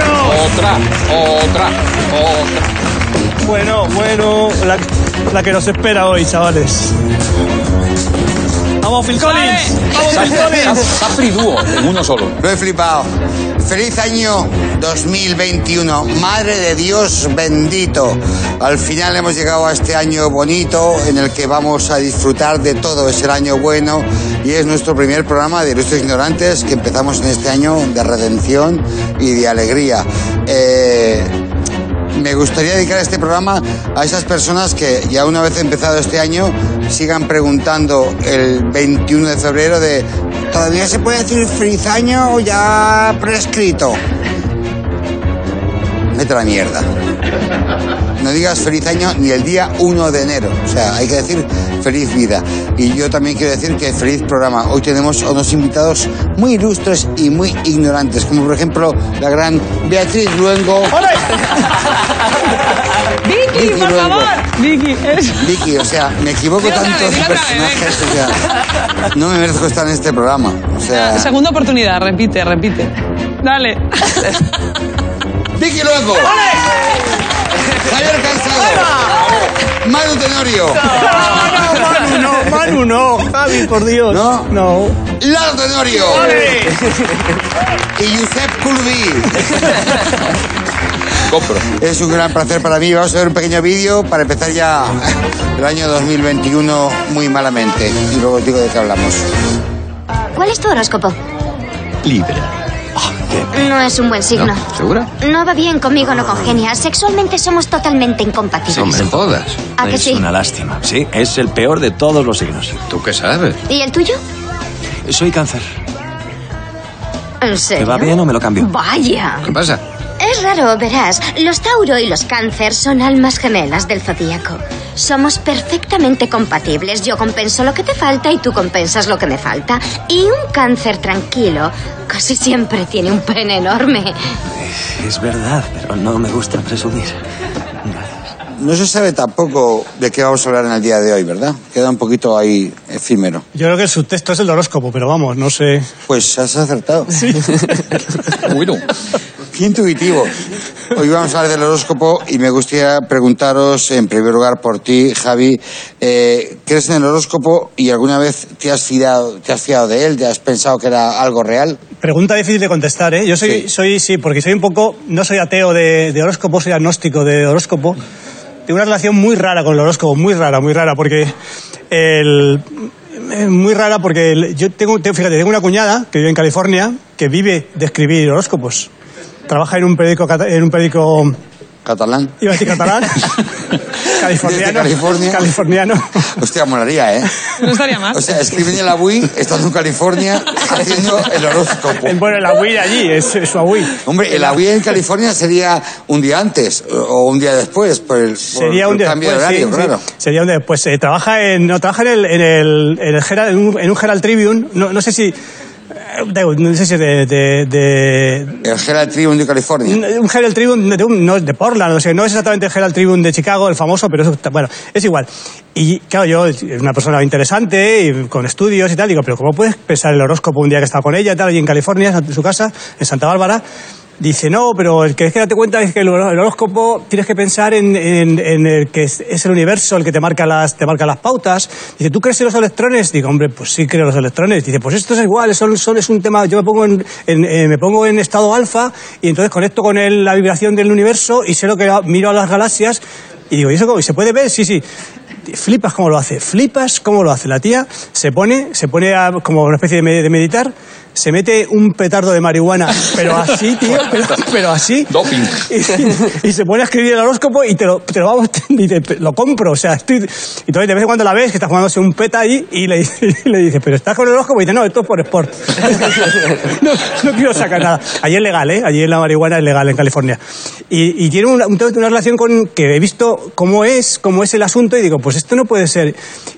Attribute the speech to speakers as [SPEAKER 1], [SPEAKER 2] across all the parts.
[SPEAKER 1] otra, otra, otra.
[SPEAKER 2] Bueno, bueno, la, la que nos espera hoy, chavales. Vamos, Phil Collins. Vamos, Phil Collins.
[SPEAKER 1] Sapri dúo, en uno solo.
[SPEAKER 3] Lo he flipado. Feliz año 2021. Madre de Dios bendito. Al final hemos llegado a este año bonito en el que vamos a disfrutar de todo. Es el año bueno y es nuestro primer programa de Ilustres Ignorantes que empezamos en este año de redención y de alegría. Eh, me gustaría dedicar este programa a esas personas que ya una vez empezado este año sigan preguntando el 21 de febrero de ¿todavía se puede decir feliz año o ya prescrito? Vete a la mierda. No digas feliz año ni el día 1 de enero. O sea, hay que decir feliz vida. Y yo también quiero decir que feliz programa. Hoy tenemos a unos invitados muy ilustres y muy ignorantes, como por ejemplo la gran Beatriz Luengo.
[SPEAKER 2] ¡Ole!
[SPEAKER 4] Vicky, Vicky, por
[SPEAKER 3] Luengo.
[SPEAKER 4] favor. Vicky, es...
[SPEAKER 3] Vicky, o sea, me equivoco
[SPEAKER 4] Dilo otra
[SPEAKER 3] tanto
[SPEAKER 4] vez,
[SPEAKER 3] de
[SPEAKER 4] dilo otra vez,
[SPEAKER 3] personajes, o sea, no me merezco estar en este programa. O sea,
[SPEAKER 4] Segunda oportunidad, repite, repite. Dale.
[SPEAKER 3] Vicky Luengo, Javier Cansado, Manu Tenorio,
[SPEAKER 2] No, no, Manu, no. Javi, por Dios.
[SPEAKER 3] No.
[SPEAKER 2] No.
[SPEAKER 3] Lalo Tenorio y Josep Culví.
[SPEAKER 1] Compro.
[SPEAKER 3] Es un gran placer para mí. Vamos a ver un pequeño vídeo para empezar ya el año 2021 muy malamente. Y luego os digo de qué hablamos.
[SPEAKER 5] ¿Cuál es tu horóscopo?
[SPEAKER 6] Libra.
[SPEAKER 5] No es un buen signo.
[SPEAKER 6] ¿Segura?
[SPEAKER 5] No va bien conmigo, no congenia. Sexualmente somos totalmente incompatibles.
[SPEAKER 6] Hombre, todas.
[SPEAKER 5] ¿A que
[SPEAKER 6] es
[SPEAKER 5] sí?
[SPEAKER 6] una lástima. Sí, es el peor de todos los signos. ¿Tú qué sabes?
[SPEAKER 5] ¿Y el tuyo?
[SPEAKER 6] Soy cáncer.
[SPEAKER 5] ¿En serio?
[SPEAKER 6] ¿Me va bien o me lo cambio?
[SPEAKER 5] Vaya.
[SPEAKER 6] ¿Qué pasa?
[SPEAKER 5] Es raro, verás. Los Tauro y los Cáncer son almas gemelas del zodíaco. Somos perfectamente compatibles. Yo compenso lo que te falta y tú compensas lo que me falta. Y un Cáncer tranquilo casi siempre tiene un pene enorme.
[SPEAKER 6] Es verdad, pero no me gusta presumir.
[SPEAKER 3] No se sabe tampoco de qué vamos a hablar en el día de hoy, ¿verdad? Queda un poquito ahí efímero.
[SPEAKER 2] Yo creo que el subtexto es el horóscopo, pero vamos, no sé.
[SPEAKER 3] Pues has acertado.
[SPEAKER 1] Bueno,
[SPEAKER 3] Qué intuitivo. Hoy vamos a hablar del horóscopo y me gustaría preguntaros, en primer lugar, por ti, Javi. eh, ¿Crees en el horóscopo y alguna vez te has, fiado, te has fiado de él? ¿Te has pensado que era algo real?
[SPEAKER 2] Pregunta difícil de contestar, ¿eh? Yo soy,
[SPEAKER 3] Sí.
[SPEAKER 2] soy sí, porque soy un poco, no soy ateo de, de horóscopo, soy agnóstico de horóscopo. Tengo una relación muy rara con el horóscopo, muy rara, muy rara, porque el, eh, muy rara porque el- yo tengo, tengo- fíjate, tengo una cuñada que vive en California que vive de escribir horóscopos. Trabaja en un periódico, cata- en un periódico
[SPEAKER 3] ¿Catalán?
[SPEAKER 2] iba a decir catalán,
[SPEAKER 3] Desde
[SPEAKER 2] californiano,
[SPEAKER 3] California.
[SPEAKER 2] californiano.
[SPEAKER 3] Hostia, molaría, ¿eh?
[SPEAKER 4] No estaría mal.
[SPEAKER 3] O sea, escriben en la Wii, estando en California, haciendo el horóscopo.
[SPEAKER 2] En- Bueno, el Wii de allí, es, es su Wii.
[SPEAKER 3] Hombre, el Wii en California sería un día antes o un día después, por el, por-
[SPEAKER 2] Sería
[SPEAKER 3] por
[SPEAKER 2] un
[SPEAKER 3] el
[SPEAKER 2] día
[SPEAKER 3] cambio
[SPEAKER 2] después,
[SPEAKER 3] de horario,
[SPEAKER 2] sí, sí.
[SPEAKER 3] claro.
[SPEAKER 2] Sería un día después. Eh, trabaja en, no, trabaja en, el, en, el, en, el Herald- en un, en un Herald Tribune. No, no sé si. eh, da igual, No sé si de. de, de-
[SPEAKER 3] El Herald Tribune de California.
[SPEAKER 2] un Herald Tribune de, un- no, de Portland, no sé, no es exactamente el Herald Tribune de Chicago, el famoso, pero es, bueno, es igual. Y claro, yo, es una persona interesante, y con estudios y tal, digo, pero ¿cómo puedes pensar el horóscopo un día que estaba con ella y tal, allí en California, en su casa, en Santa Bárbara? Dice, no, pero el que es que date cuenta es que el hor- el horóscopo tienes que pensar en, en- en el que es, es el universo el que te marca, las, te marca las pautas. Dice, ¿tú crees en los electrones? Digo, hombre, pues sí creo en los electrones. Dice, pues esto es igual, son, son- es un tema, yo me pongo en, en- eh, me pongo en estado alfa y entonces conecto con él la vibración del universo y sé lo que miro a las galaxias. Y digo, ¿y eso cómo? ¿Y se puede ver? Sí, sí. Flipas cómo lo hace, flipas cómo lo hace. La tía se pone, se pone a- como una especie de, me- de meditar, se mete un petardo de marihuana, pero así, tío, pero, pero así.
[SPEAKER 1] Doping.
[SPEAKER 2] Y, y se pone a escribir el horóscopo y te lo, te lo vamos, y te- te lo compro. O sea, estoy, entonces de vez en cuando la ves que está jugándose un peta ahí y le, y le dices, pero estás con el horóscopo y dice, no, esto es por sport. no, no quiero sacar nada. Allí es legal, ¿eh? Allí la marihuana es legal en California. Y, y tiene una, un- una relación con que he visto cómo es, cómo es el asunto y digo, pues esto no puede ser.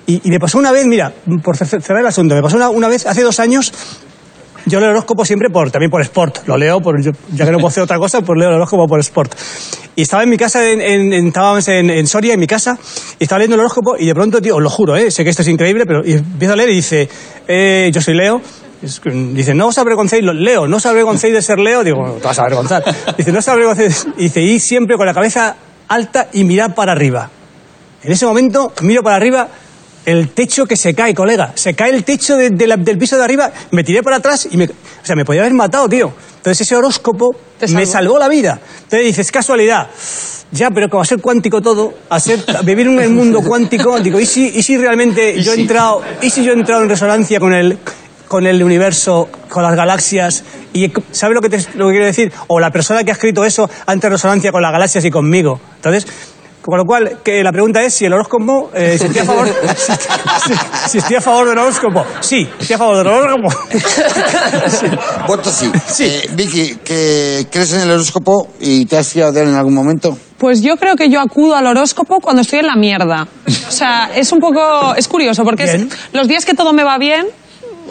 [SPEAKER 2] Y, y me pasó una vez, mira, por cer- cerrar el asunto, me pasó una- una vez hace dos años yo leo el horóscopo siempre por, también por sport. Lo leo, por, yo- ya que no puedo hacer otra cosa, pues leo el horóscopo por sport. Y estaba en mi casa, en, en- en- estábamos en, en Soria, en mi casa, y estaba leyendo el horóscopo y de pronto, tío, os lo juro, ¿eh? sé que esto es increíble, pero y empiezo a leer y dice, eh, yo soy Leo, Es- Dice, no os avergoncéis, lo- Leo, no os avergoncéis de ser Leo. Digo, te vas a avergonzar. Dice, no os avergoncéis. Dice, id siempre con la cabeza alta y mirad para arriba. En ese momento, miro para arriba, el techo que se cae, colega. Se cae el techo de- de la- del piso de arriba, me tiré para atrás y me. O sea, me podía haber matado, tío. Entonces ese horóscopo
[SPEAKER 4] Te
[SPEAKER 2] me
[SPEAKER 4] salvó.
[SPEAKER 2] salvó la vida. Entonces dices, casualidad. Ya, pero como a ser cuántico todo, a ser, a vivir en un mundo cuántico, digo, ¿y si, y si realmente yo he entrado, y si yo he entrado en resonancia con el, con el universo, con las galaxias? Y ¿sabes lo que, te, lo que quiero decir? O la persona que ha escrito eso ha entrado en resonancia con las galaxias y conmigo. Entonces, con lo cual, que la pregunta es si el horóscopo, eh, si, estoy a favor, si, si- si estoy a favor del horóscopo. Sí, estoy a favor del horóscopo.
[SPEAKER 3] Voto sí.
[SPEAKER 2] Sí.
[SPEAKER 3] Eh, Vicky, que crees en el horóscopo y te has fiado de él en algún momento.
[SPEAKER 4] Pues yo creo que yo acudo al horóscopo cuando estoy en la mierda. O sea, es un poco. Es curioso, porque es-
[SPEAKER 2] Bien.
[SPEAKER 4] los días que todo me va bien,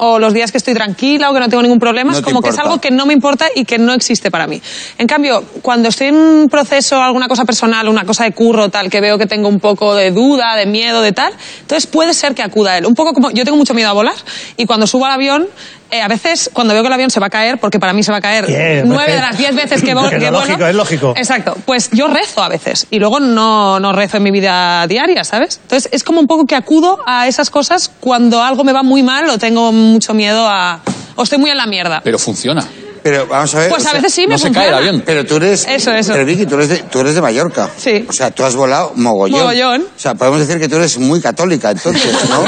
[SPEAKER 4] o los días que estoy tranquila o que no tengo ningún problema,
[SPEAKER 3] No te
[SPEAKER 4] es como que es
[SPEAKER 3] importa.
[SPEAKER 4] algo que no me importa y que no existe para mí. En cambio, cuando estoy en un proceso, alguna cosa personal, una cosa de curro, tal, que veo que tengo un poco de duda, de miedo, de tal, entonces puede ser que acuda a él. Un poco como. Yo tengo mucho miedo a volar y cuando subo al avión. eh, a veces, cuando veo que el avión se va a caer, porque para mí se va a caer
[SPEAKER 2] Bien,
[SPEAKER 4] nueve
[SPEAKER 2] porque-
[SPEAKER 4] de las diez veces que, vo-
[SPEAKER 2] Es
[SPEAKER 4] que
[SPEAKER 2] lo
[SPEAKER 4] vuelo,
[SPEAKER 2] lógico, es lógico.
[SPEAKER 4] Exacto. Pues yo rezo a veces y luego no, no rezo en mi vida diaria, ¿sabes? Entonces es como un poco que acudo a esas cosas cuando algo me va muy mal o tengo mucho miedo a... o estoy muy en la mierda.
[SPEAKER 1] Pero funciona.
[SPEAKER 3] Pero vamos a ver.
[SPEAKER 4] Pues
[SPEAKER 3] o
[SPEAKER 4] a
[SPEAKER 3] sea,
[SPEAKER 4] veces sí
[SPEAKER 1] eh, no
[SPEAKER 4] me
[SPEAKER 1] se cae
[SPEAKER 4] funciona.
[SPEAKER 1] el avión.
[SPEAKER 3] Pero tú eres.
[SPEAKER 4] Eso, eso.
[SPEAKER 3] Pero Vicky, tú eres, de, tú eres de Mallorca.
[SPEAKER 4] Sí.
[SPEAKER 3] O sea, tú has volado mogollón.
[SPEAKER 4] Mogollón.
[SPEAKER 3] O sea, podemos decir que tú eres muy católica, entonces, ¿no?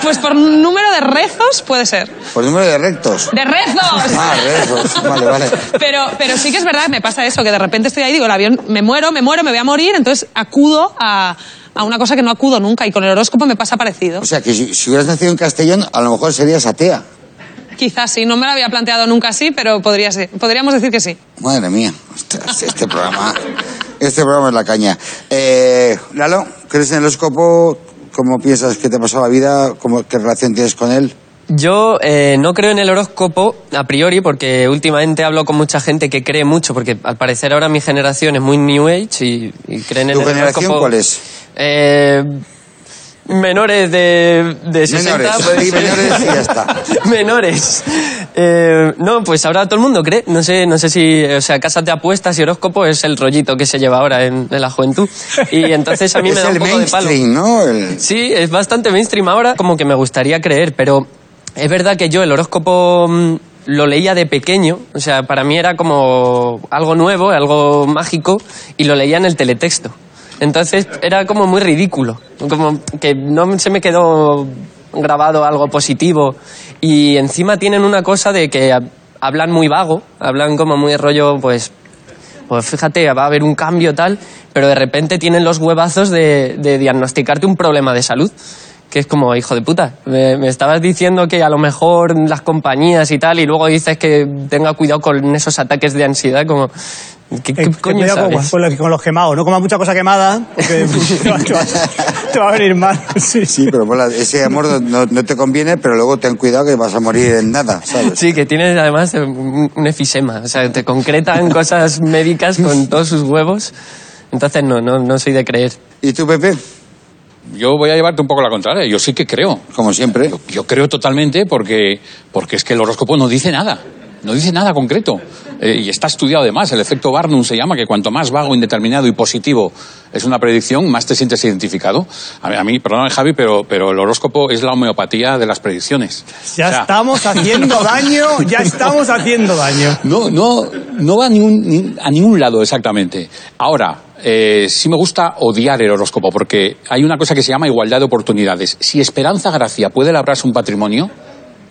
[SPEAKER 4] Pues por número de rezos puede ser.
[SPEAKER 3] Por número de rectos.
[SPEAKER 4] ¡De rezos!
[SPEAKER 3] Ah, rezos. Vale, vale.
[SPEAKER 4] Pero, pero sí que es verdad, me pasa eso, que de repente estoy ahí y digo, el avión, me muero, me muero, me voy a morir, entonces acudo a, a una cosa que no acudo nunca y con el horóscopo me pasa parecido.
[SPEAKER 1] Pues
[SPEAKER 3] O sea, que si, si hubieras nacido en Castellón, a lo mejor serías atea.
[SPEAKER 4] Quizás sí, no me lo había planteado nunca así, pero podría ser. podríamos decir que sí.
[SPEAKER 3] Madre mía. Ostras, este programa. Este programa es la caña. Eh, Lalo, ¿crees en el horóscopo? ¿Cómo piensas que te ha pasado la vida? ¿Cómo, ¿Qué relación tienes con él?
[SPEAKER 7] Yo eh, no creo en el horóscopo a priori porque últimamente hablo con mucha gente que cree mucho porque al parecer ahora mi generación es muy New Age y, y creen en
[SPEAKER 3] ¿Tu
[SPEAKER 7] el
[SPEAKER 3] generación
[SPEAKER 7] horóscopo.
[SPEAKER 3] cuál es?
[SPEAKER 7] Eh, menores de, de 60.
[SPEAKER 3] Menores.
[SPEAKER 7] puede
[SPEAKER 3] Sí,
[SPEAKER 7] ser.
[SPEAKER 3] menores y ya está.
[SPEAKER 7] menores. Eh, no, pues ahora todo el mundo cree. No sé, no sé si, o sea, casas de apuestas y horóscopo es el rollito que se lleva ahora en, en la juventud. Y entonces a mí
[SPEAKER 3] es
[SPEAKER 7] me da
[SPEAKER 3] el
[SPEAKER 7] un poco de palo.
[SPEAKER 3] mainstream, ¿no? El-
[SPEAKER 7] Sí, es bastante mainstream ahora, como que me gustaría creer, pero es verdad que yo el horóscopo mm, lo leía de pequeño, o sea, para mí era como algo nuevo, algo mágico, y lo leía en el teletexto. Entonces era como muy ridículo, como que no se me quedó grabado algo positivo. Y encima tienen una cosa de que hab- hablan muy vago, hablan como muy rollo, pues pues fíjate, va a haber un cambio tal, pero de repente tienen los huevazos de, de diagnosticarte un problema de salud, que es como, hijo de puta, me, me estabas diciendo que a lo mejor las compañías y tal, y luego dices que tenga cuidado con esos ataques de ansiedad, como, ¿qué, qué
[SPEAKER 2] Eh, ten
[SPEAKER 7] coño
[SPEAKER 2] cuidado con,
[SPEAKER 7] sabes?
[SPEAKER 2] con los, con los quemados, no comas mucha cosa quemada, porque te va, te va- te va a venir mal. Sí,
[SPEAKER 3] Sí, pero mola, ese amor no, no te conviene, pero luego ten cuidado que vas a morir en nada, ¿sabes?
[SPEAKER 7] Sí, que tienes además eh, un un efisema, o sea, te concretan cosas médicas con todos sus huevos, entonces no, no, no soy de creer.
[SPEAKER 3] ¿Y tú, Pepe?
[SPEAKER 1] Yo voy a llevarte un poco la contraria. Yo sí que creo.
[SPEAKER 3] Como siempre.
[SPEAKER 1] Yo, yo creo totalmente porque, porque es que el horóscopo no dice nada. No dice nada concreto. Eh, y está estudiado además. El efecto Barnum se llama que cuanto más vago, indeterminado y positivo es una predicción, más te sientes identificado. A mí, a mí perdóname Javi, pero, pero el horóscopo es la homeopatía de las predicciones.
[SPEAKER 2] Ya
[SPEAKER 1] O sea,
[SPEAKER 2] estamos haciendo daño, ya estamos haciendo daño.
[SPEAKER 1] No, no, no va a ningún, ni- a ningún lado exactamente. Ahora, eh, sí me gusta odiar el horóscopo porque hay una cosa que se llama igualdad de oportunidades. Si Esperanza Gracia puede labrarse un patrimonio,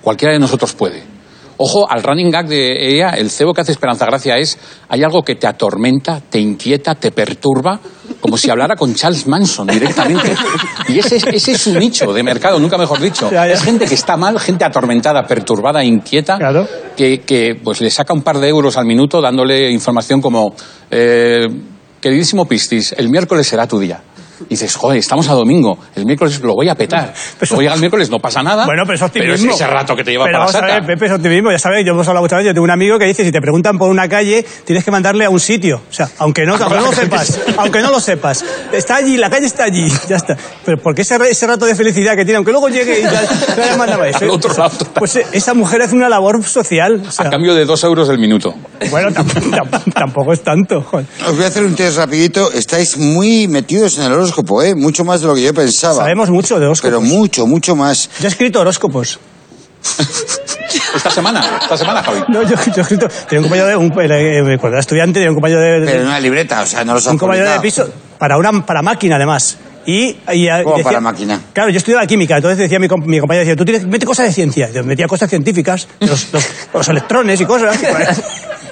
[SPEAKER 1] cualquiera de nosotros puede. Ojo al running gag de ella, el cebo que hace Esperanza Gracia es, hay algo que te atormenta, te inquieta, te perturba, como si hablara con Charles Manson directamente. Y ese, es- ese es su nicho de mercado, nunca mejor dicho.
[SPEAKER 2] Ya, ya.
[SPEAKER 1] Es gente que está mal, gente atormentada, perturbada, inquieta,
[SPEAKER 2] Claro.
[SPEAKER 1] que, que, pues le saca un par de euros al minuto dándole información como eh, queridísimo Piscis, el miércoles será tu día. Y dices, joder, estamos a domingo, el miércoles lo voy a petar. Luego llega el miércoles, no pasa nada.
[SPEAKER 2] Bueno, pero es optimismo.
[SPEAKER 1] ¿Ah? es ese rato que te lleva
[SPEAKER 2] Pero
[SPEAKER 1] para la
[SPEAKER 2] vamos a
[SPEAKER 1] saca.
[SPEAKER 2] ver, Pepe, es optimismo. Ya sabéis, yo hemos hablado muchas veces. Yo tengo un amigo que dice, si te preguntan por una calle, tienes que mandarle a un sitio. O sea, aunque no, aunque no lo sepas, aunque no lo sepas. Está allí, la calle está allí, ya está. Pero porque ese, ese rato de felicidad que tiene, aunque luego llegue y tal, no le mandabais.
[SPEAKER 1] Al otro rato.
[SPEAKER 2] Pues eh, esa mujer hace una labor social. o sea,
[SPEAKER 1] A cambio de dos euros el minuto.
[SPEAKER 2] bueno, tam- tam- tampoco es tanto. joder.
[SPEAKER 3] Os voy a hacer un test rapidito. Estáis muy metidos en el horóscopo, ¿eh? Mucho más de lo que yo pensaba.
[SPEAKER 2] Sabemos mucho de
[SPEAKER 3] Ah, Pero
[SPEAKER 2] horóscopos.
[SPEAKER 3] mucho, mucho más.
[SPEAKER 2] Yo he escrito horóscopos.
[SPEAKER 1] Esta semana, esta semana, Javi.
[SPEAKER 2] No, yo, yo he escrito. Tenía un compañero de. Un, eh, cuando era estudiante, tenía un compañero de. de-
[SPEAKER 3] Pero en una libreta, o sea, no los
[SPEAKER 2] un
[SPEAKER 3] han
[SPEAKER 2] compañero de
[SPEAKER 3] publicado.
[SPEAKER 2] piso para una para máquina además y, y
[SPEAKER 3] ¿Cómo para máquina?
[SPEAKER 2] claro yo estudiaba química entonces decía mi, com- mi compañero decía tú tienes mete cosas de ciencia yo metía cosas científicas los, los- los electrones y cosas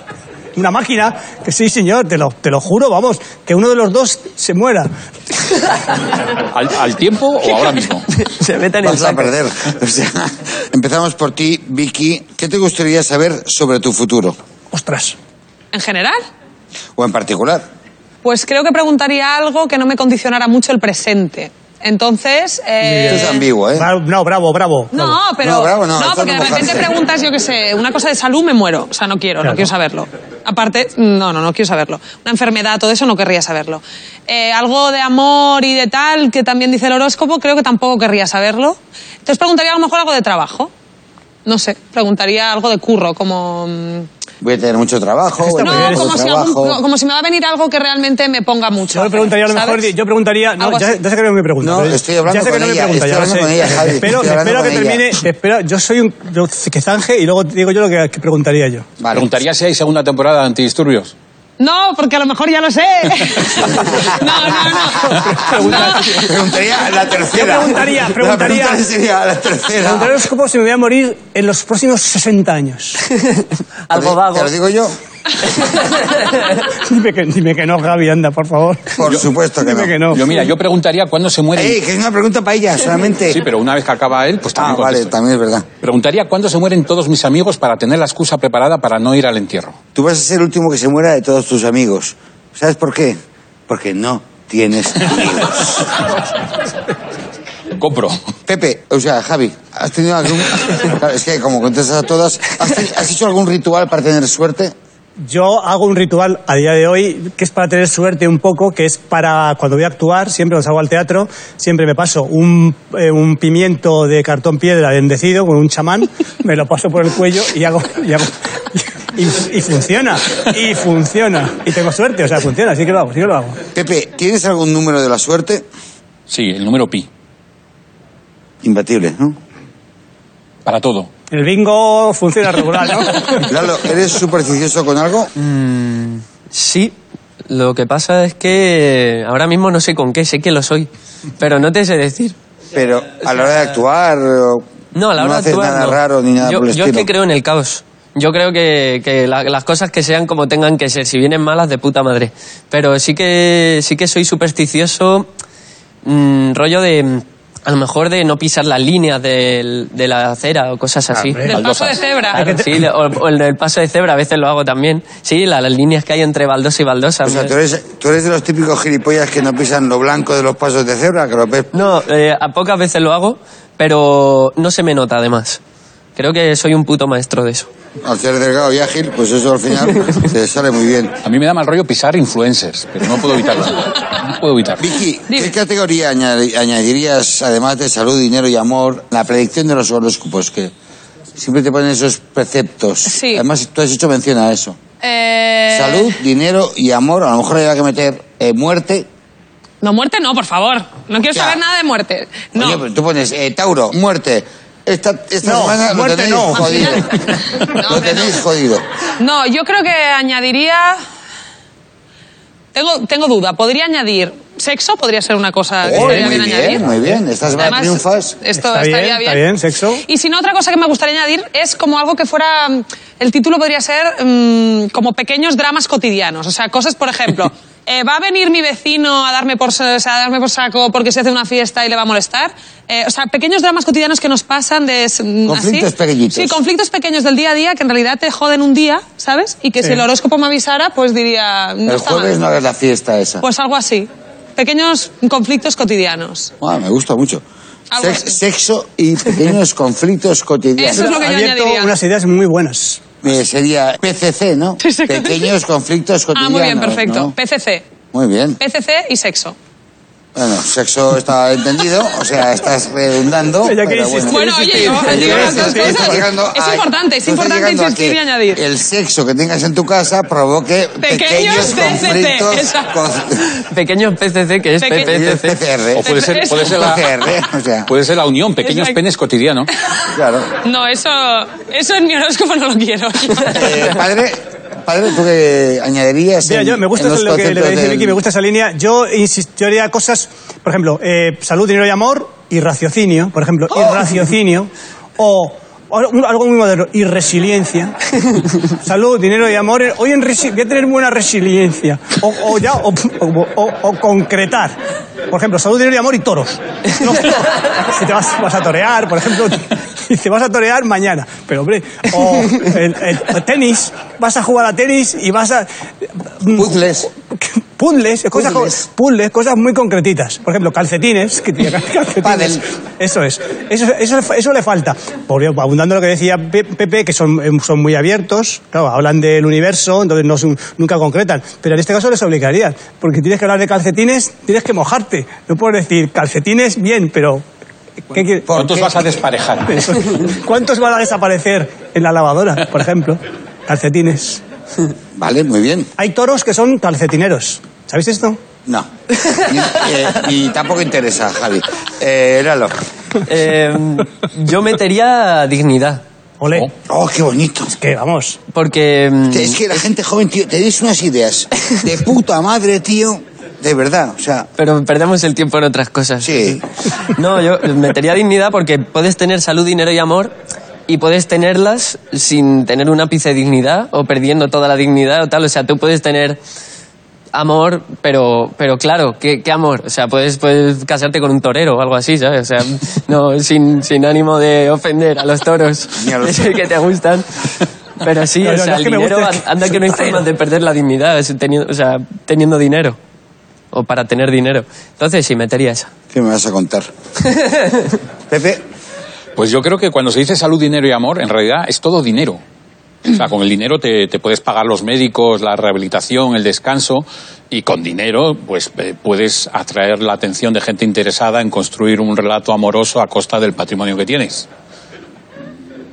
[SPEAKER 2] una máquina que sí señor te lo, te lo juro vamos que uno de los dos se muera
[SPEAKER 1] ¿Al, al tiempo o ahora mismo?
[SPEAKER 7] Se meten en
[SPEAKER 3] Vas a
[SPEAKER 7] saco.
[SPEAKER 3] perder. O sea, empezamos por ti, Vicky. ¿Qué te gustaría saber sobre tu futuro?
[SPEAKER 2] ostras
[SPEAKER 4] En general,
[SPEAKER 3] O en particular.
[SPEAKER 4] pues creo que preguntaría algo que no me condicionara mucho el presente. Entonces. eh,
[SPEAKER 3] Esto es ambiguo, ¿eh?
[SPEAKER 2] Bra- no bravo bravo
[SPEAKER 4] No,
[SPEAKER 2] bravo.
[SPEAKER 4] pero.
[SPEAKER 3] No, bravo, no, eso
[SPEAKER 4] porque
[SPEAKER 3] no
[SPEAKER 4] de repente
[SPEAKER 3] mojarse.
[SPEAKER 4] preguntas, yo qué sé, una cosa de salud, me muero. O sea, no quiero,
[SPEAKER 2] Claro.
[SPEAKER 4] no quiero saberlo. Aparte, no, no, no quiero saberlo. Una enfermedad, todo eso no querría saberlo. Eh, algo de amor y de tal, que también dice el horóscopo, creo que tampoco querría saberlo. Entonces preguntaría a lo mejor algo de trabajo. No sé, preguntaría algo de curro, como. mm,
[SPEAKER 3] Voy a tener mucho trabajo.
[SPEAKER 2] Pues
[SPEAKER 3] voy a
[SPEAKER 4] No,
[SPEAKER 3] tener poco
[SPEAKER 4] como si, algún-
[SPEAKER 3] trabajo.
[SPEAKER 4] como si me va a venir algo que realmente me ponga mucho.
[SPEAKER 2] yo
[SPEAKER 4] a
[SPEAKER 2] le
[SPEAKER 4] hacer,
[SPEAKER 2] preguntaría a lo mejor,
[SPEAKER 4] ¿sabes?
[SPEAKER 2] yo preguntaría, no,
[SPEAKER 4] Algo
[SPEAKER 2] ya,
[SPEAKER 4] así.
[SPEAKER 2] ya sé que no me pregunta.
[SPEAKER 3] No,
[SPEAKER 2] pero
[SPEAKER 3] estoy hablando
[SPEAKER 2] ya sé que
[SPEAKER 3] con
[SPEAKER 2] no me
[SPEAKER 3] ella,
[SPEAKER 2] pregunta,
[SPEAKER 3] estoy
[SPEAKER 2] ya lo
[SPEAKER 3] hablando
[SPEAKER 2] sé.
[SPEAKER 3] con ella, Javi,
[SPEAKER 2] Espero,
[SPEAKER 3] estoy hablando
[SPEAKER 2] espero que
[SPEAKER 3] con ella.
[SPEAKER 2] termine, espero- yo soy un yo- que zanje y luego digo yo lo que, que preguntaría yo.
[SPEAKER 3] Vale.
[SPEAKER 1] Preguntaría si hay segunda temporada de antidisturbios.
[SPEAKER 4] No, porque a lo mejor ya lo sé. no, no, no. no.
[SPEAKER 3] Preguntaría la tercera.
[SPEAKER 2] Yo preguntaría,
[SPEAKER 3] La
[SPEAKER 2] preguntaría-
[SPEAKER 3] pregunta sería la tercera.
[SPEAKER 2] Preguntaría los copos si me voy a morir en los próximos 60 años.
[SPEAKER 7] Algo
[SPEAKER 3] ¿Te
[SPEAKER 7] vago.
[SPEAKER 3] lo digo yo?
[SPEAKER 2] dime, que, dime que no, Gaby, anda, por favor.
[SPEAKER 3] Por supuesto que
[SPEAKER 2] dime
[SPEAKER 3] no.
[SPEAKER 2] que no.
[SPEAKER 1] Yo, mira, yo preguntaría cuándo se muere.
[SPEAKER 3] Ey, que es una pregunta para ella solamente.
[SPEAKER 1] Sí, pero una vez que acaba él, pues
[SPEAKER 3] ah,
[SPEAKER 1] también
[SPEAKER 3] vale,
[SPEAKER 1] contesto.
[SPEAKER 3] también es verdad.
[SPEAKER 1] Preguntaría cuándo se mueren todos mis amigos para tener la excusa preparada para no ir al entierro.
[SPEAKER 3] Tú vas a ser el último que se muera de todos tus amigos. ¿Sabes por qué? Porque no tienes amigos.
[SPEAKER 1] Compro.
[SPEAKER 3] Pepe, o sea, Javi, ¿has tenido algún... Claro, es que como contestas a todas, ¿has, ten- has hecho algún ritual para tener suerte?
[SPEAKER 2] Yo hago un ritual a día de hoy que es para tener suerte un poco, que es para cuando voy a actuar, siempre cuando salgo al teatro, siempre me paso un, eh, un pimiento de cartón piedra bendecido con un chamán, me lo paso por el cuello y hago... Y, hago- y- y funciona, y funciona. Y tengo suerte, o sea, funciona, así que lo hago, sí que lo hago.
[SPEAKER 3] Pepe, ¿tienes algún número de la suerte?
[SPEAKER 1] Sí, el número pi.
[SPEAKER 3] Imbatible, ¿no?
[SPEAKER 1] Para todo.
[SPEAKER 2] El bingo funciona regular, ¿no?
[SPEAKER 3] Lalo, ¿eres supersticioso con algo?
[SPEAKER 7] Sí, lo que pasa es que ahora mismo no sé con qué, sé que lo soy, pero no te sé decir.
[SPEAKER 3] Pero a la hora de actuar... o-
[SPEAKER 7] No, a la
[SPEAKER 3] no
[SPEAKER 7] hora de
[SPEAKER 3] haces
[SPEAKER 7] actuar,
[SPEAKER 3] nada
[SPEAKER 7] no.
[SPEAKER 3] raro ni nada
[SPEAKER 7] yo,
[SPEAKER 3] por el
[SPEAKER 7] yo es
[SPEAKER 3] estilo.
[SPEAKER 7] que creo en el caos. Yo creo que, que la- las cosas que sean como tengan que ser, si vienen malas, de puta madre. Pero sí que, sí que soy supersticioso, mm, rollo de, mm, a lo mejor de no pisar las líneas del- de la acera o cosas así.
[SPEAKER 2] hombre.
[SPEAKER 4] Del paso de
[SPEAKER 1] Baldosas.
[SPEAKER 4] cebra.
[SPEAKER 7] Claro, sí, le- o, o el del paso de cebra a veces lo hago también. Sí, la- las líneas que hay entre baldosa y baldosa.
[SPEAKER 3] O sea,
[SPEAKER 7] me-
[SPEAKER 3] ¿tú eres, tú eres de los típicos gilipollas que no pisan lo blanco de los pasos de cebra, que lo ves...
[SPEAKER 7] No, eh, a pocas veces lo hago, pero no se me nota además. Creo que soy un puto maestro de eso.
[SPEAKER 3] Al ser delgado y ágil, pues eso al final te sale muy bien.
[SPEAKER 1] A mí me da mal rollo pisar influencers, pero no puedo evitarlo. No puedo evitarlo.
[SPEAKER 3] Vicky, ¿qué
[SPEAKER 4] Dime.
[SPEAKER 3] categoría añadi- añadirías, además de salud, dinero y amor, la predicción de los horóscopos? Que siempre te ponen esos preceptos.
[SPEAKER 4] Sí.
[SPEAKER 3] Además, tú has hecho mención a eso.
[SPEAKER 4] Eh,
[SPEAKER 3] Salud, dinero y amor. A lo mejor había que meter eh, muerte.
[SPEAKER 4] No, muerte no, por favor. No quiero
[SPEAKER 3] Ya.
[SPEAKER 4] saber nada de muerte. No.
[SPEAKER 3] Oye, pero tú pones eh, Tauro, muerte. Esta, esta
[SPEAKER 2] No,
[SPEAKER 3] semana lo
[SPEAKER 2] muerte
[SPEAKER 3] tenéis
[SPEAKER 2] no.
[SPEAKER 3] jodido.
[SPEAKER 4] No,
[SPEAKER 3] lo
[SPEAKER 4] hombre,
[SPEAKER 3] tenéis
[SPEAKER 4] no.
[SPEAKER 3] jodido.
[SPEAKER 4] No, yo creo que añadiría. Tengo, tengo duda. Podría añadir. Sexo podría ser una cosa que
[SPEAKER 3] Oh,
[SPEAKER 4] estaría
[SPEAKER 3] muy
[SPEAKER 4] bien,
[SPEAKER 3] bien,
[SPEAKER 4] añadir.
[SPEAKER 3] muy bien. Esta semana
[SPEAKER 4] Además,
[SPEAKER 3] triunfas.
[SPEAKER 4] Esto
[SPEAKER 2] Está bien,
[SPEAKER 4] estaría bien.
[SPEAKER 2] está bien, sexo.
[SPEAKER 4] Y si no, otra cosa que me gustaría añadir es como algo que fuera. mm, El título podría ser mm, como pequeños dramas cotidianos. O sea, cosas, por ejemplo. eh, ¿Va a venir mi vecino a darme, por, sa- o sea, a darme por saco porque se hace una fiesta y le va a molestar? Eh, o sea, pequeños dramas cotidianos que nos pasan de... s- mm,
[SPEAKER 3] Conflictos
[SPEAKER 4] así.
[SPEAKER 3] pequeñitos.
[SPEAKER 4] Sí, conflictos pequeños del día a día que en realidad te joden un día, ¿sabes? Y que
[SPEAKER 2] Sí.
[SPEAKER 4] si el horóscopo me avisara, pues diría... No
[SPEAKER 3] El
[SPEAKER 4] está mal.
[SPEAKER 3] jueves no hagas la fiesta esa.
[SPEAKER 4] Pues algo así. pequeños conflictos cotidianos.
[SPEAKER 3] Ah, me gusta mucho.
[SPEAKER 4] Algo
[SPEAKER 3] Sex-
[SPEAKER 4] así.
[SPEAKER 3] sexo y pequeños conflictos cotidianos.
[SPEAKER 4] Eso es lo que yo
[SPEAKER 2] abierto
[SPEAKER 4] añadiría.
[SPEAKER 2] unas ideas muy buenas.
[SPEAKER 3] Eh, sería PCC, ¿no?
[SPEAKER 4] Exacto.
[SPEAKER 3] Pequeños conflictos
[SPEAKER 4] Ah,
[SPEAKER 3] cotidianos.
[SPEAKER 4] muy bien, perfecto.
[SPEAKER 3] ¿no?
[SPEAKER 4] PCC.
[SPEAKER 3] Muy bien.
[SPEAKER 4] PCC y sexo.
[SPEAKER 3] Bueno, sexo está entendido, o sea, estás redundando.
[SPEAKER 2] Ya que
[SPEAKER 3] pero
[SPEAKER 2] hiciste-
[SPEAKER 3] bueno.
[SPEAKER 4] Bueno,
[SPEAKER 2] sí,
[SPEAKER 4] oye,
[SPEAKER 2] sí,
[SPEAKER 4] yo
[SPEAKER 2] sí,
[SPEAKER 4] digo
[SPEAKER 2] sí,
[SPEAKER 4] las dos
[SPEAKER 2] sí,
[SPEAKER 4] cosas.
[SPEAKER 3] Estás llegando
[SPEAKER 4] Es
[SPEAKER 3] a-
[SPEAKER 4] importante, es
[SPEAKER 3] tú estás
[SPEAKER 4] importante
[SPEAKER 3] llegando a
[SPEAKER 4] insistir
[SPEAKER 3] que
[SPEAKER 4] y añadir.
[SPEAKER 3] El sexo que tengas en tu casa provoque pequeños,
[SPEAKER 4] Pequeños PCC,
[SPEAKER 3] conflictos.
[SPEAKER 4] exacto.
[SPEAKER 3] con-
[SPEAKER 7] Pequeños PCC, que es
[SPEAKER 4] Peque-
[SPEAKER 3] Pequeños
[SPEAKER 7] PCC.
[SPEAKER 3] PCR.
[SPEAKER 1] O puede ser, puede ser la,
[SPEAKER 3] PCR, o sea,
[SPEAKER 1] puede ser la unión, pequeños
[SPEAKER 4] Exacto.
[SPEAKER 1] penes cotidianos.
[SPEAKER 3] claro.
[SPEAKER 4] No, eso, eso en mi horóscopo no lo quiero.
[SPEAKER 3] Eh, padre, padre, ¿tú qué añadirías?
[SPEAKER 2] Mira,
[SPEAKER 3] en-
[SPEAKER 2] yo me gusta
[SPEAKER 3] en
[SPEAKER 2] eso
[SPEAKER 3] los
[SPEAKER 2] lo que le
[SPEAKER 3] conceptos
[SPEAKER 2] dice
[SPEAKER 3] del-
[SPEAKER 2] Vicky, me gusta esa línea. Yo insistiría cosas, por ejemplo, eh, salud, dinero y amor y raciocinio, por ejemplo,
[SPEAKER 3] ¡Oh!
[SPEAKER 2] y raciocinio o o un- algo muy moderno, y resiliencia. Salud, dinero y amor. Hoy en resi- voy a tener buena resiliencia. O, o ya, o, o- o- o concretar. Por ejemplo, salud, dinero y amor y toros. Los toros. Si te vas, vas a torear, por ejemplo, y te vas a torear mañana. Pero, hombre, o el- el- o tenis, vas a jugar a tenis y vas a...
[SPEAKER 3] Puzzles.
[SPEAKER 2] Puzzles, cosas, como-
[SPEAKER 3] Puzzles.
[SPEAKER 2] puzzles, cosas muy concretitas. Por ejemplo, calcetines. Que tiene calcetines.
[SPEAKER 3] Pádel.
[SPEAKER 2] Eso es. Eso, eso, eso le falta. Por, abundando lo que decía Pe- Pepe, que son, eh, son muy abiertos, claro, hablan del universo, entonces no, son- nunca concretan. Pero en este caso les obligarían, porque tienes que hablar de calcetines, tienes que mojarte. No puedes decir calcetines bien, pero... ¿qué quiere-
[SPEAKER 1] ¿Cuántos vas a desparejar?
[SPEAKER 2] eso. ¿Cuántos van a desaparecer en la lavadora, por ejemplo? Calcetines.
[SPEAKER 3] Vale, muy bien.
[SPEAKER 2] Hay toros que son calcetineros. ¿Sabéis esto?
[SPEAKER 3] No. Ni, eh, ni tampoco interesa, Javi. Eh, éralo.
[SPEAKER 7] Eh, yo metería dignidad.
[SPEAKER 2] Ole.
[SPEAKER 1] Oh.
[SPEAKER 3] Oh, qué bonito.
[SPEAKER 2] Que vamos.
[SPEAKER 7] Porque. mm,
[SPEAKER 3] Es que la gente joven, tío, tenéis unas ideas de puta madre, tío. De verdad, o sea,
[SPEAKER 7] Pero perdemos el tiempo en otras cosas.
[SPEAKER 3] sí.
[SPEAKER 7] No, yo metería dignidad porque puedes tener salud, dinero y amor y puedes tenerlas sin tener un ápice de dignidad o perdiendo toda la dignidad o tal. O sea, tú puedes tener amor, pero, pero claro, ¿qué, qué amor? O sea, puedes, puedes casarte con un torero o algo así, ¿sabes? O sea, no, sin, sin ánimo de ofender a los toros
[SPEAKER 3] Ni a los-
[SPEAKER 7] que te gustan. Pero sí,
[SPEAKER 2] No,
[SPEAKER 7] o
[SPEAKER 2] no, no
[SPEAKER 7] sea,
[SPEAKER 2] es
[SPEAKER 7] el
[SPEAKER 2] que me
[SPEAKER 7] dinero,
[SPEAKER 2] guste, es que
[SPEAKER 7] anda que no hay
[SPEAKER 2] soy
[SPEAKER 7] forma de perder la dignidad, es teniendo, o sea, teniendo dinero. O para tener dinero. Entonces sí, metería esa.
[SPEAKER 3] ¿Qué me vas a contar? Pepe,
[SPEAKER 1] Pues yo creo que cuando se dice salud, dinero y amor, en realidad es todo dinero. O sea, con el dinero te, te puedes pagar los médicos, la rehabilitación, el descanso y con dinero pues eh, puedes atraer la atención de gente interesada en construir un relato amoroso a costa del patrimonio que tienes.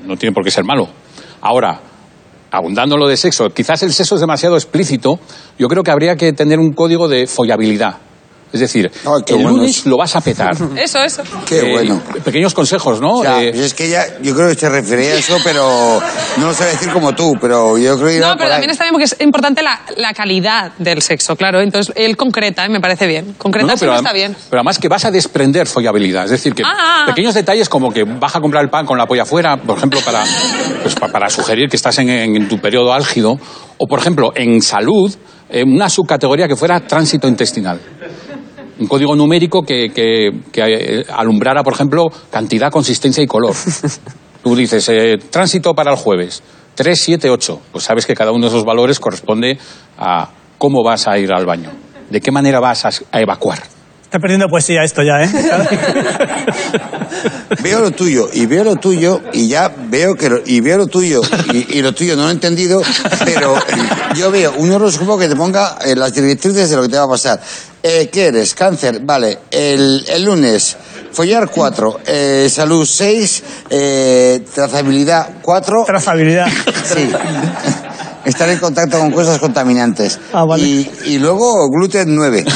[SPEAKER 1] No tiene por qué ser malo. Ahora, abundando en lo de sexo, quizás el sexo es demasiado explícito, yo creo que habría que tener un código de follabilidad. Es decir,
[SPEAKER 3] Ay, qué
[SPEAKER 1] el
[SPEAKER 3] bueno
[SPEAKER 1] lunes
[SPEAKER 3] eso.
[SPEAKER 1] lo vas a petar.
[SPEAKER 4] Eso, eso.
[SPEAKER 3] qué
[SPEAKER 1] Eh,
[SPEAKER 3] bueno.
[SPEAKER 1] Pequeños consejos, ¿no?
[SPEAKER 3] O sea,
[SPEAKER 1] Eh,
[SPEAKER 3] pues es que ya, yo creo que se refería a eso, pero no lo sé decir como tú, pero yo creo que iba
[SPEAKER 4] No,
[SPEAKER 3] por
[SPEAKER 4] pero
[SPEAKER 3] ahí.
[SPEAKER 4] también está bien porque es importante la, la calidad del sexo, claro. Entonces, él concreta, ¿eh? me parece bien. Concreta
[SPEAKER 1] No, no,
[SPEAKER 4] siempre
[SPEAKER 1] adem-
[SPEAKER 4] está bien.
[SPEAKER 1] pero además que vas a desprender follabilidad. Es decir, que
[SPEAKER 4] Ah.
[SPEAKER 1] pequeños detalles como que vas a comprar el pan con la polla afuera, por ejemplo, para, pues, pa- para sugerir que estás en, en tu periodo álgido. O, por ejemplo, en salud, eh, una subcategoría que fuera tránsito intestinal. Un código numérico que, que- que, eh, alumbrara, por ejemplo, cantidad, consistencia y color. Tú dices, eh, tránsito para el jueves, 3, 7, 8. Pues sabes que cada uno de esos valores corresponde a cómo vas a ir al baño, de qué manera vas a, a evacuar.
[SPEAKER 2] Está perdiendo poesía esto ya, ¿eh?
[SPEAKER 3] Veo lo tuyo y veo lo tuyo y ya veo que lo, y veo lo tuyo y, y lo tuyo no lo he entendido, pero eh, yo veo un horóscopo que te ponga eh, las directrices de lo que te va a pasar. Eh, ¿Qué eres? Cáncer, vale. El, el lunes, follar 4, salud 6, trazabilidad 4.
[SPEAKER 2] Trazabilidad.
[SPEAKER 3] Sí. Estar en contacto con cosas contaminantes.
[SPEAKER 2] Ah, vale.
[SPEAKER 3] y, y luego gluten 9.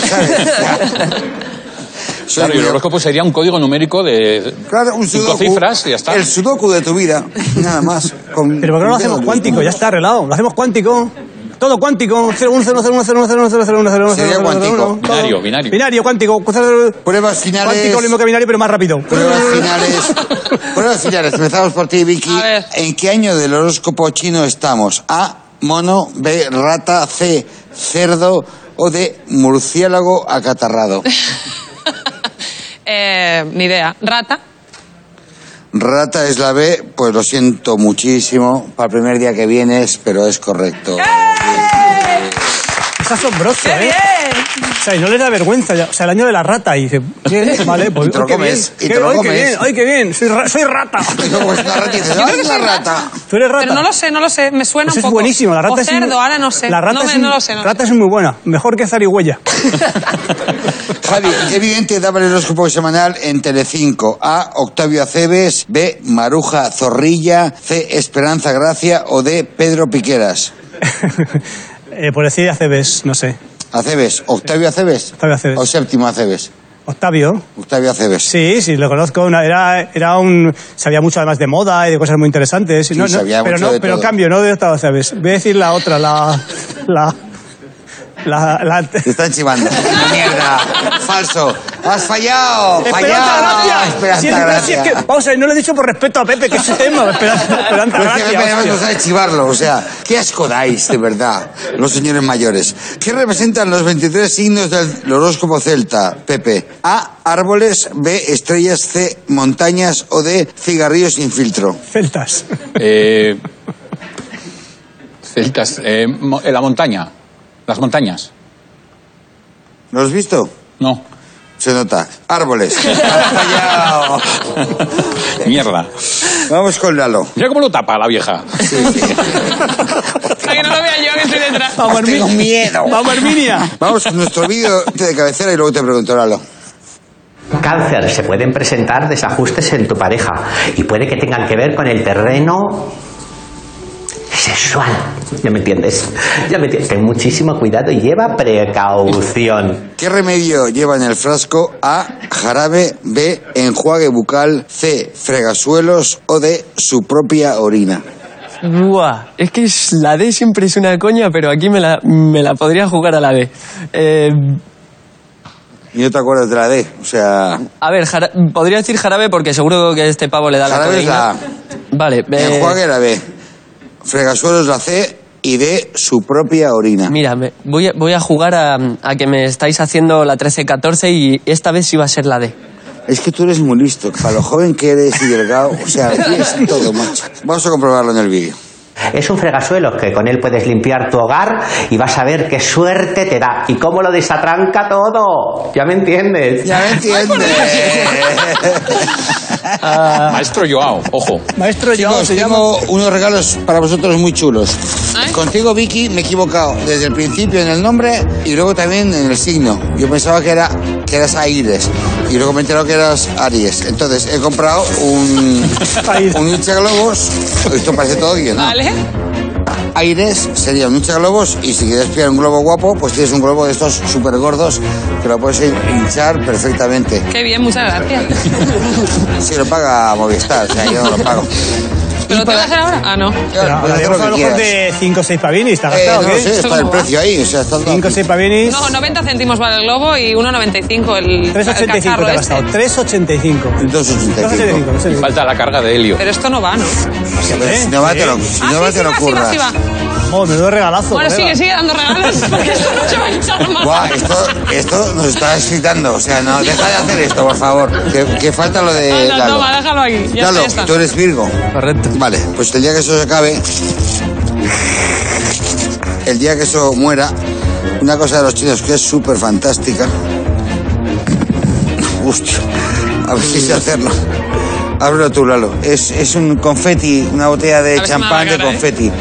[SPEAKER 1] Claro, y el horóscopo sería un código numérico de
[SPEAKER 3] Claro, un
[SPEAKER 1] cinco
[SPEAKER 3] sudoku.
[SPEAKER 1] cifras y ya está.
[SPEAKER 3] El sudoku de tu vida, nada más. con-
[SPEAKER 2] Pero ¿por qué no lo hacemos cuántico? Ya está arreglado. Lo hacemos cuántico. Todo cuántico. 0101010101010101.
[SPEAKER 3] Sería cuántico.
[SPEAKER 1] Binario, binario.
[SPEAKER 2] Binario, cuántico.
[SPEAKER 3] Pruebas finales.
[SPEAKER 2] Cuántico, lo mismo que binario, pero más rápido.
[SPEAKER 3] Pruebas finales. Pruebas finales. Empezamos por ti, Vicky.
[SPEAKER 4] A ver.
[SPEAKER 3] ¿En qué año del horóscopo chino estamos? A, mono, B, rata, C, cerdo o D, murciélago acatarrado.
[SPEAKER 4] Eh, ni idea. Rata.
[SPEAKER 3] Rata es la B, pues lo siento muchísimo. Para el primer día que
[SPEAKER 4] ¡Eh!
[SPEAKER 3] vienes, pero es correcto.
[SPEAKER 2] Es asombroso, ¿eh? O sea, y no les da vergüenza. ya. O sea, el año de la rata. Y dice, bien, vale, pues.
[SPEAKER 3] Y te
[SPEAKER 2] hoy
[SPEAKER 3] lo
[SPEAKER 2] qué
[SPEAKER 3] comes,
[SPEAKER 2] bien,
[SPEAKER 3] y te
[SPEAKER 2] qué-
[SPEAKER 3] lo
[SPEAKER 2] hoy qué
[SPEAKER 3] comes.
[SPEAKER 2] bien, hoy qué bien, soy, ra- soy rata.
[SPEAKER 3] Como es una rata, y dices,
[SPEAKER 4] Yo creo
[SPEAKER 3] "Ah,
[SPEAKER 4] que
[SPEAKER 3] es una
[SPEAKER 4] soy
[SPEAKER 3] rata.
[SPEAKER 2] Tú eres rata.
[SPEAKER 4] Pero no lo sé, no lo sé. Me suena
[SPEAKER 2] Pues
[SPEAKER 4] un
[SPEAKER 2] es
[SPEAKER 4] poco.
[SPEAKER 2] buenísimo, la rata
[SPEAKER 4] o
[SPEAKER 2] es
[SPEAKER 4] cerdo,
[SPEAKER 2] un-
[SPEAKER 4] ahora no sé.
[SPEAKER 2] La rata
[SPEAKER 4] no, me-
[SPEAKER 2] es un-
[SPEAKER 4] no lo sé. No
[SPEAKER 2] rata es muy buena, mejor que zarigüeya.
[SPEAKER 3] Javi, evidente, daba el horóscopo semanal en Telecinco. A. Octavio Aceves. B. Maruja Zorrilla. C. Esperanza Gracia. O D. Pedro Piqueras.
[SPEAKER 2] Eh, por decir Aceves, no sé.
[SPEAKER 3] Aceves. Octavio Aceves.
[SPEAKER 2] Octavio Aceves.
[SPEAKER 3] O séptimo Aceves.
[SPEAKER 2] Octavio.
[SPEAKER 3] Octavio Aceves.
[SPEAKER 2] Sí, sí, lo conozco. Una- Era, era un. Sabía mucho además de moda y de cosas muy interesantes. No, no,
[SPEAKER 3] sabía
[SPEAKER 2] pero
[SPEAKER 3] mucho
[SPEAKER 2] no,
[SPEAKER 3] de
[SPEAKER 2] pero
[SPEAKER 3] todo.
[SPEAKER 2] cambio, no de Octavio Aceves. Voy a decir la otra, la. La. La. la-
[SPEAKER 3] Te están chivando. ¡Mierda! ¡Falso! ¡Has fallado!
[SPEAKER 2] Esperanza
[SPEAKER 3] ¡Fallado!
[SPEAKER 2] Gracia. Sí, es
[SPEAKER 3] ¡Esperanza
[SPEAKER 2] verdad, sí, es
[SPEAKER 3] Gracia!
[SPEAKER 2] que, vamos a ver, no lo he dicho por respeto a Pepe, que es su tema. Esperanza, Esperanza
[SPEAKER 3] Pero es que
[SPEAKER 2] Gracia,
[SPEAKER 3] Pepe además
[SPEAKER 2] hostia.
[SPEAKER 3] no sabe chivarlo, o sea, qué asco dais, de verdad, los señores mayores. ¿Qué representan los 23 signos del horóscopo celta, Pepe? A, árboles, B, estrellas, C, montañas o D, cigarrillos sin filtro.
[SPEAKER 2] Celtas.
[SPEAKER 1] Eh, celtas. eh, mo- eh, la montaña. Las montañas.
[SPEAKER 3] ¿Lo has visto?
[SPEAKER 1] No.
[SPEAKER 3] Se nota. Árboles. Has fallado.
[SPEAKER 1] Mierda.
[SPEAKER 3] Vamos con Lalo.
[SPEAKER 1] Mira cómo lo tapa la vieja.
[SPEAKER 4] Para que no lo vea yo que estoy detrás.
[SPEAKER 2] Vamos,
[SPEAKER 3] Tengo
[SPEAKER 2] Herminia.
[SPEAKER 3] miedo.
[SPEAKER 2] Vamos, Herminia.
[SPEAKER 3] Vamos con nuestro vídeo de cabecera y luego te pregunto, Lalo.
[SPEAKER 8] Cáncer, se pueden presentar desajustes en tu pareja y puede que tengan que ver con el terreno sexual. ¿Ya me entiendes? Ya me entiendes. Ten muchísimo cuidado y lleva precaución.
[SPEAKER 3] ¿Qué remedio lleva en el frasco? A. Jarabe. B. Enjuague bucal. C. Fregasuelos. O D. Su propia orina.
[SPEAKER 7] Buah, es que es- la D siempre es una coña, pero aquí me la, me la podría jugar a la D. Eh,
[SPEAKER 3] Y no te acuerdas de la D. O sea.
[SPEAKER 7] a ver, jara- podría decir jarabe porque seguro que este pavo le da
[SPEAKER 3] Jarabe es
[SPEAKER 7] la
[SPEAKER 3] la
[SPEAKER 7] codeína. Vale, eh,
[SPEAKER 3] Enjuague la B. Fregasuelos la C. Y D. Su propia orina.
[SPEAKER 7] mira, me- voy, a, voy a jugar a, a que me estáis haciendo la 13-14 y esta vez sí va a ser la D.
[SPEAKER 3] Es que tú eres muy listo. Para lo joven que eres y delgado. O sea, tienes todo, macho. Vamos a comprobarlo en el vídeo.
[SPEAKER 8] Es un fregasuelo que con él puedes limpiar tu hogar y vas a ver qué suerte te da y cómo lo desatranca todo. ¿Ya me entiendes?
[SPEAKER 3] Ya me entiendes.
[SPEAKER 1] Maestro Joao, ojo.
[SPEAKER 2] Maestro Joao
[SPEAKER 3] Chicos,
[SPEAKER 2] se llama. ¿Eh?
[SPEAKER 3] tengo unos regalos para vosotros muy chulos. Contigo, Vicky, me he equivocado desde el principio en el nombre y luego también en el signo. Yo pensaba que, era, que eras Aires y luego me he enterado que eras Aries. Entonces, he comprado un,
[SPEAKER 2] Aires.
[SPEAKER 3] un globos. Esto parece todo bien, ¿no?
[SPEAKER 4] ¿Vale?
[SPEAKER 3] Aires sería un globos y si quieres pillar un globo guapo, pues tienes un globo de estos súper gordos que lo puedes hinchar perfectamente.
[SPEAKER 4] Qué bien, muchas gracias.
[SPEAKER 3] Si lo paga Movistar, o sea, yo no lo pago.
[SPEAKER 4] ¿Pero te vas a hacer ahora? Ah, no.
[SPEAKER 3] Claro,
[SPEAKER 2] Pero
[SPEAKER 3] pues haz
[SPEAKER 2] hablaríamos
[SPEAKER 3] lo
[SPEAKER 2] a
[SPEAKER 3] que
[SPEAKER 2] lo mejor
[SPEAKER 3] quieras.
[SPEAKER 2] de 5 o 6 pavinis, ¿te ha
[SPEAKER 3] Eh,
[SPEAKER 2] gastado?
[SPEAKER 3] no lo sé,
[SPEAKER 4] Esto
[SPEAKER 3] está el
[SPEAKER 4] no va.
[SPEAKER 3] precio ahí, o sea, está el
[SPEAKER 2] 5 o 6 pavinis.
[SPEAKER 4] No, 90 céntimos vale el globo y 1,95 el, el
[SPEAKER 2] 3.85
[SPEAKER 4] cacharro
[SPEAKER 2] te ha
[SPEAKER 4] este.
[SPEAKER 2] gastado. 3.85.
[SPEAKER 3] 2,85.
[SPEAKER 2] 2.85, sí.
[SPEAKER 1] Falta la carga de helio.
[SPEAKER 4] Pero esto no va, ¿no?
[SPEAKER 3] Pero si Pues, no va, te lo, si
[SPEAKER 4] Ah,
[SPEAKER 3] no va,
[SPEAKER 4] sí,
[SPEAKER 3] te
[SPEAKER 4] sí,
[SPEAKER 3] lo
[SPEAKER 4] va, sí, va,
[SPEAKER 3] curras.
[SPEAKER 4] sí, va.
[SPEAKER 2] Oh, menudo regalazo.
[SPEAKER 4] Bueno,
[SPEAKER 2] colega.
[SPEAKER 4] sigue, sigue dando regalos porque esto no se va a hinchar más.
[SPEAKER 3] Buah, esto, esto nos está excitando. O sea, no, deja de hacer esto, por favor. Que, que falta lo de.
[SPEAKER 4] Anda,
[SPEAKER 3] Lalo.
[SPEAKER 4] toma, déjalo aquí. Ya
[SPEAKER 3] Lalo,
[SPEAKER 4] está, ya
[SPEAKER 3] tú
[SPEAKER 4] está.
[SPEAKER 3] eres Virgo.
[SPEAKER 7] Correcto.
[SPEAKER 3] Vale, pues el día que eso se acabe. El día que eso muera, una cosa de los chinos que es súper fantástica. Hostia, a ver si sé hacerlo. Ábrelo tú, Lalo. Es, es un confeti, una botella de
[SPEAKER 4] A ver si me da
[SPEAKER 3] champán
[SPEAKER 4] la
[SPEAKER 3] de
[SPEAKER 4] cara, ¿eh?
[SPEAKER 3] confeti.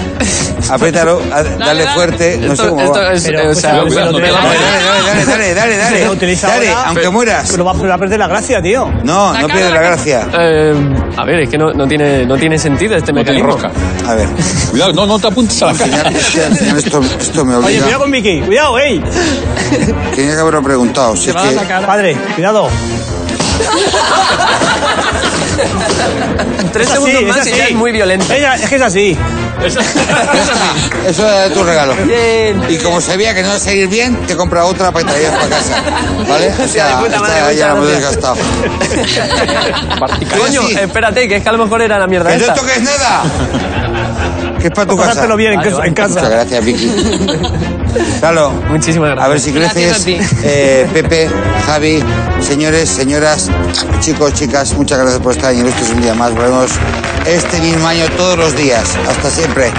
[SPEAKER 3] Apriétalo, a- dale,
[SPEAKER 4] dale.
[SPEAKER 3] fuerte, no sé
[SPEAKER 7] Esto,
[SPEAKER 3] cómo
[SPEAKER 7] esto
[SPEAKER 3] va.
[SPEAKER 7] es,
[SPEAKER 2] Pero,
[SPEAKER 7] eh, o
[SPEAKER 2] escucha,
[SPEAKER 7] sea,
[SPEAKER 2] pero
[SPEAKER 1] cuidado,
[SPEAKER 2] te
[SPEAKER 1] no te
[SPEAKER 2] lo-
[SPEAKER 1] la-
[SPEAKER 3] Dale, dale, dale, dale,
[SPEAKER 2] Si
[SPEAKER 3] dale,
[SPEAKER 2] lo
[SPEAKER 3] dale.
[SPEAKER 2] utiliza
[SPEAKER 3] Dale,
[SPEAKER 2] ahora,
[SPEAKER 3] aunque
[SPEAKER 2] pero-
[SPEAKER 3] mueras.
[SPEAKER 2] Pero va, pero va a perder la gracia, tío.
[SPEAKER 3] No, no
[SPEAKER 4] Sacala,
[SPEAKER 3] pierde la
[SPEAKER 4] sacala.
[SPEAKER 3] gracia.
[SPEAKER 7] eh, a ver, es que no, no tiene, no tiene sentido este
[SPEAKER 1] No te
[SPEAKER 7] mecanismo.
[SPEAKER 1] enrosca.
[SPEAKER 3] A ver.
[SPEAKER 1] Cuidado, no, no te apuntes a la
[SPEAKER 3] Al
[SPEAKER 1] cara.
[SPEAKER 3] final, es que al final esto, esto me
[SPEAKER 2] Oye,
[SPEAKER 3] obliga.
[SPEAKER 2] cuidado con Vicky. Cuidado, ey.
[SPEAKER 3] Tenía que haberlo preguntado. Si es que-
[SPEAKER 2] Padre, cuidado.
[SPEAKER 7] Tres
[SPEAKER 2] Es así,
[SPEAKER 7] segundos más
[SPEAKER 2] es
[SPEAKER 7] y ya
[SPEAKER 2] así.
[SPEAKER 7] es muy violento.
[SPEAKER 2] Ella- es que es así.
[SPEAKER 3] eso era tu regalo.
[SPEAKER 7] Bien.
[SPEAKER 3] Y como sabía que no iba a seguir bien, te he comprado otra para que te la lleves para casa. ¿Vale? O sea,
[SPEAKER 7] de puta madre,
[SPEAKER 3] esta ya la hemos
[SPEAKER 7] muchas
[SPEAKER 3] desgastado.
[SPEAKER 1] Vertical.
[SPEAKER 7] Coño,
[SPEAKER 3] sí.
[SPEAKER 7] espérate, que es que a lo mejor era la mierda
[SPEAKER 3] ¡Que no
[SPEAKER 7] esta.
[SPEAKER 3] toques nada! Que es para tu casa.
[SPEAKER 2] Pásatelo bien en casa- en
[SPEAKER 3] Muchas
[SPEAKER 2] casa.
[SPEAKER 3] gracias, Vicky. Claro.
[SPEAKER 7] Muchísimas gracias.
[SPEAKER 3] A ver si creces.
[SPEAKER 4] Gracias
[SPEAKER 3] Eh, Pepe, Javi, señores, señoras, chicos, chicas, muchas gracias por estar en Ilustres un día más. Volvemos este mismo año todos los días. Hasta siempre.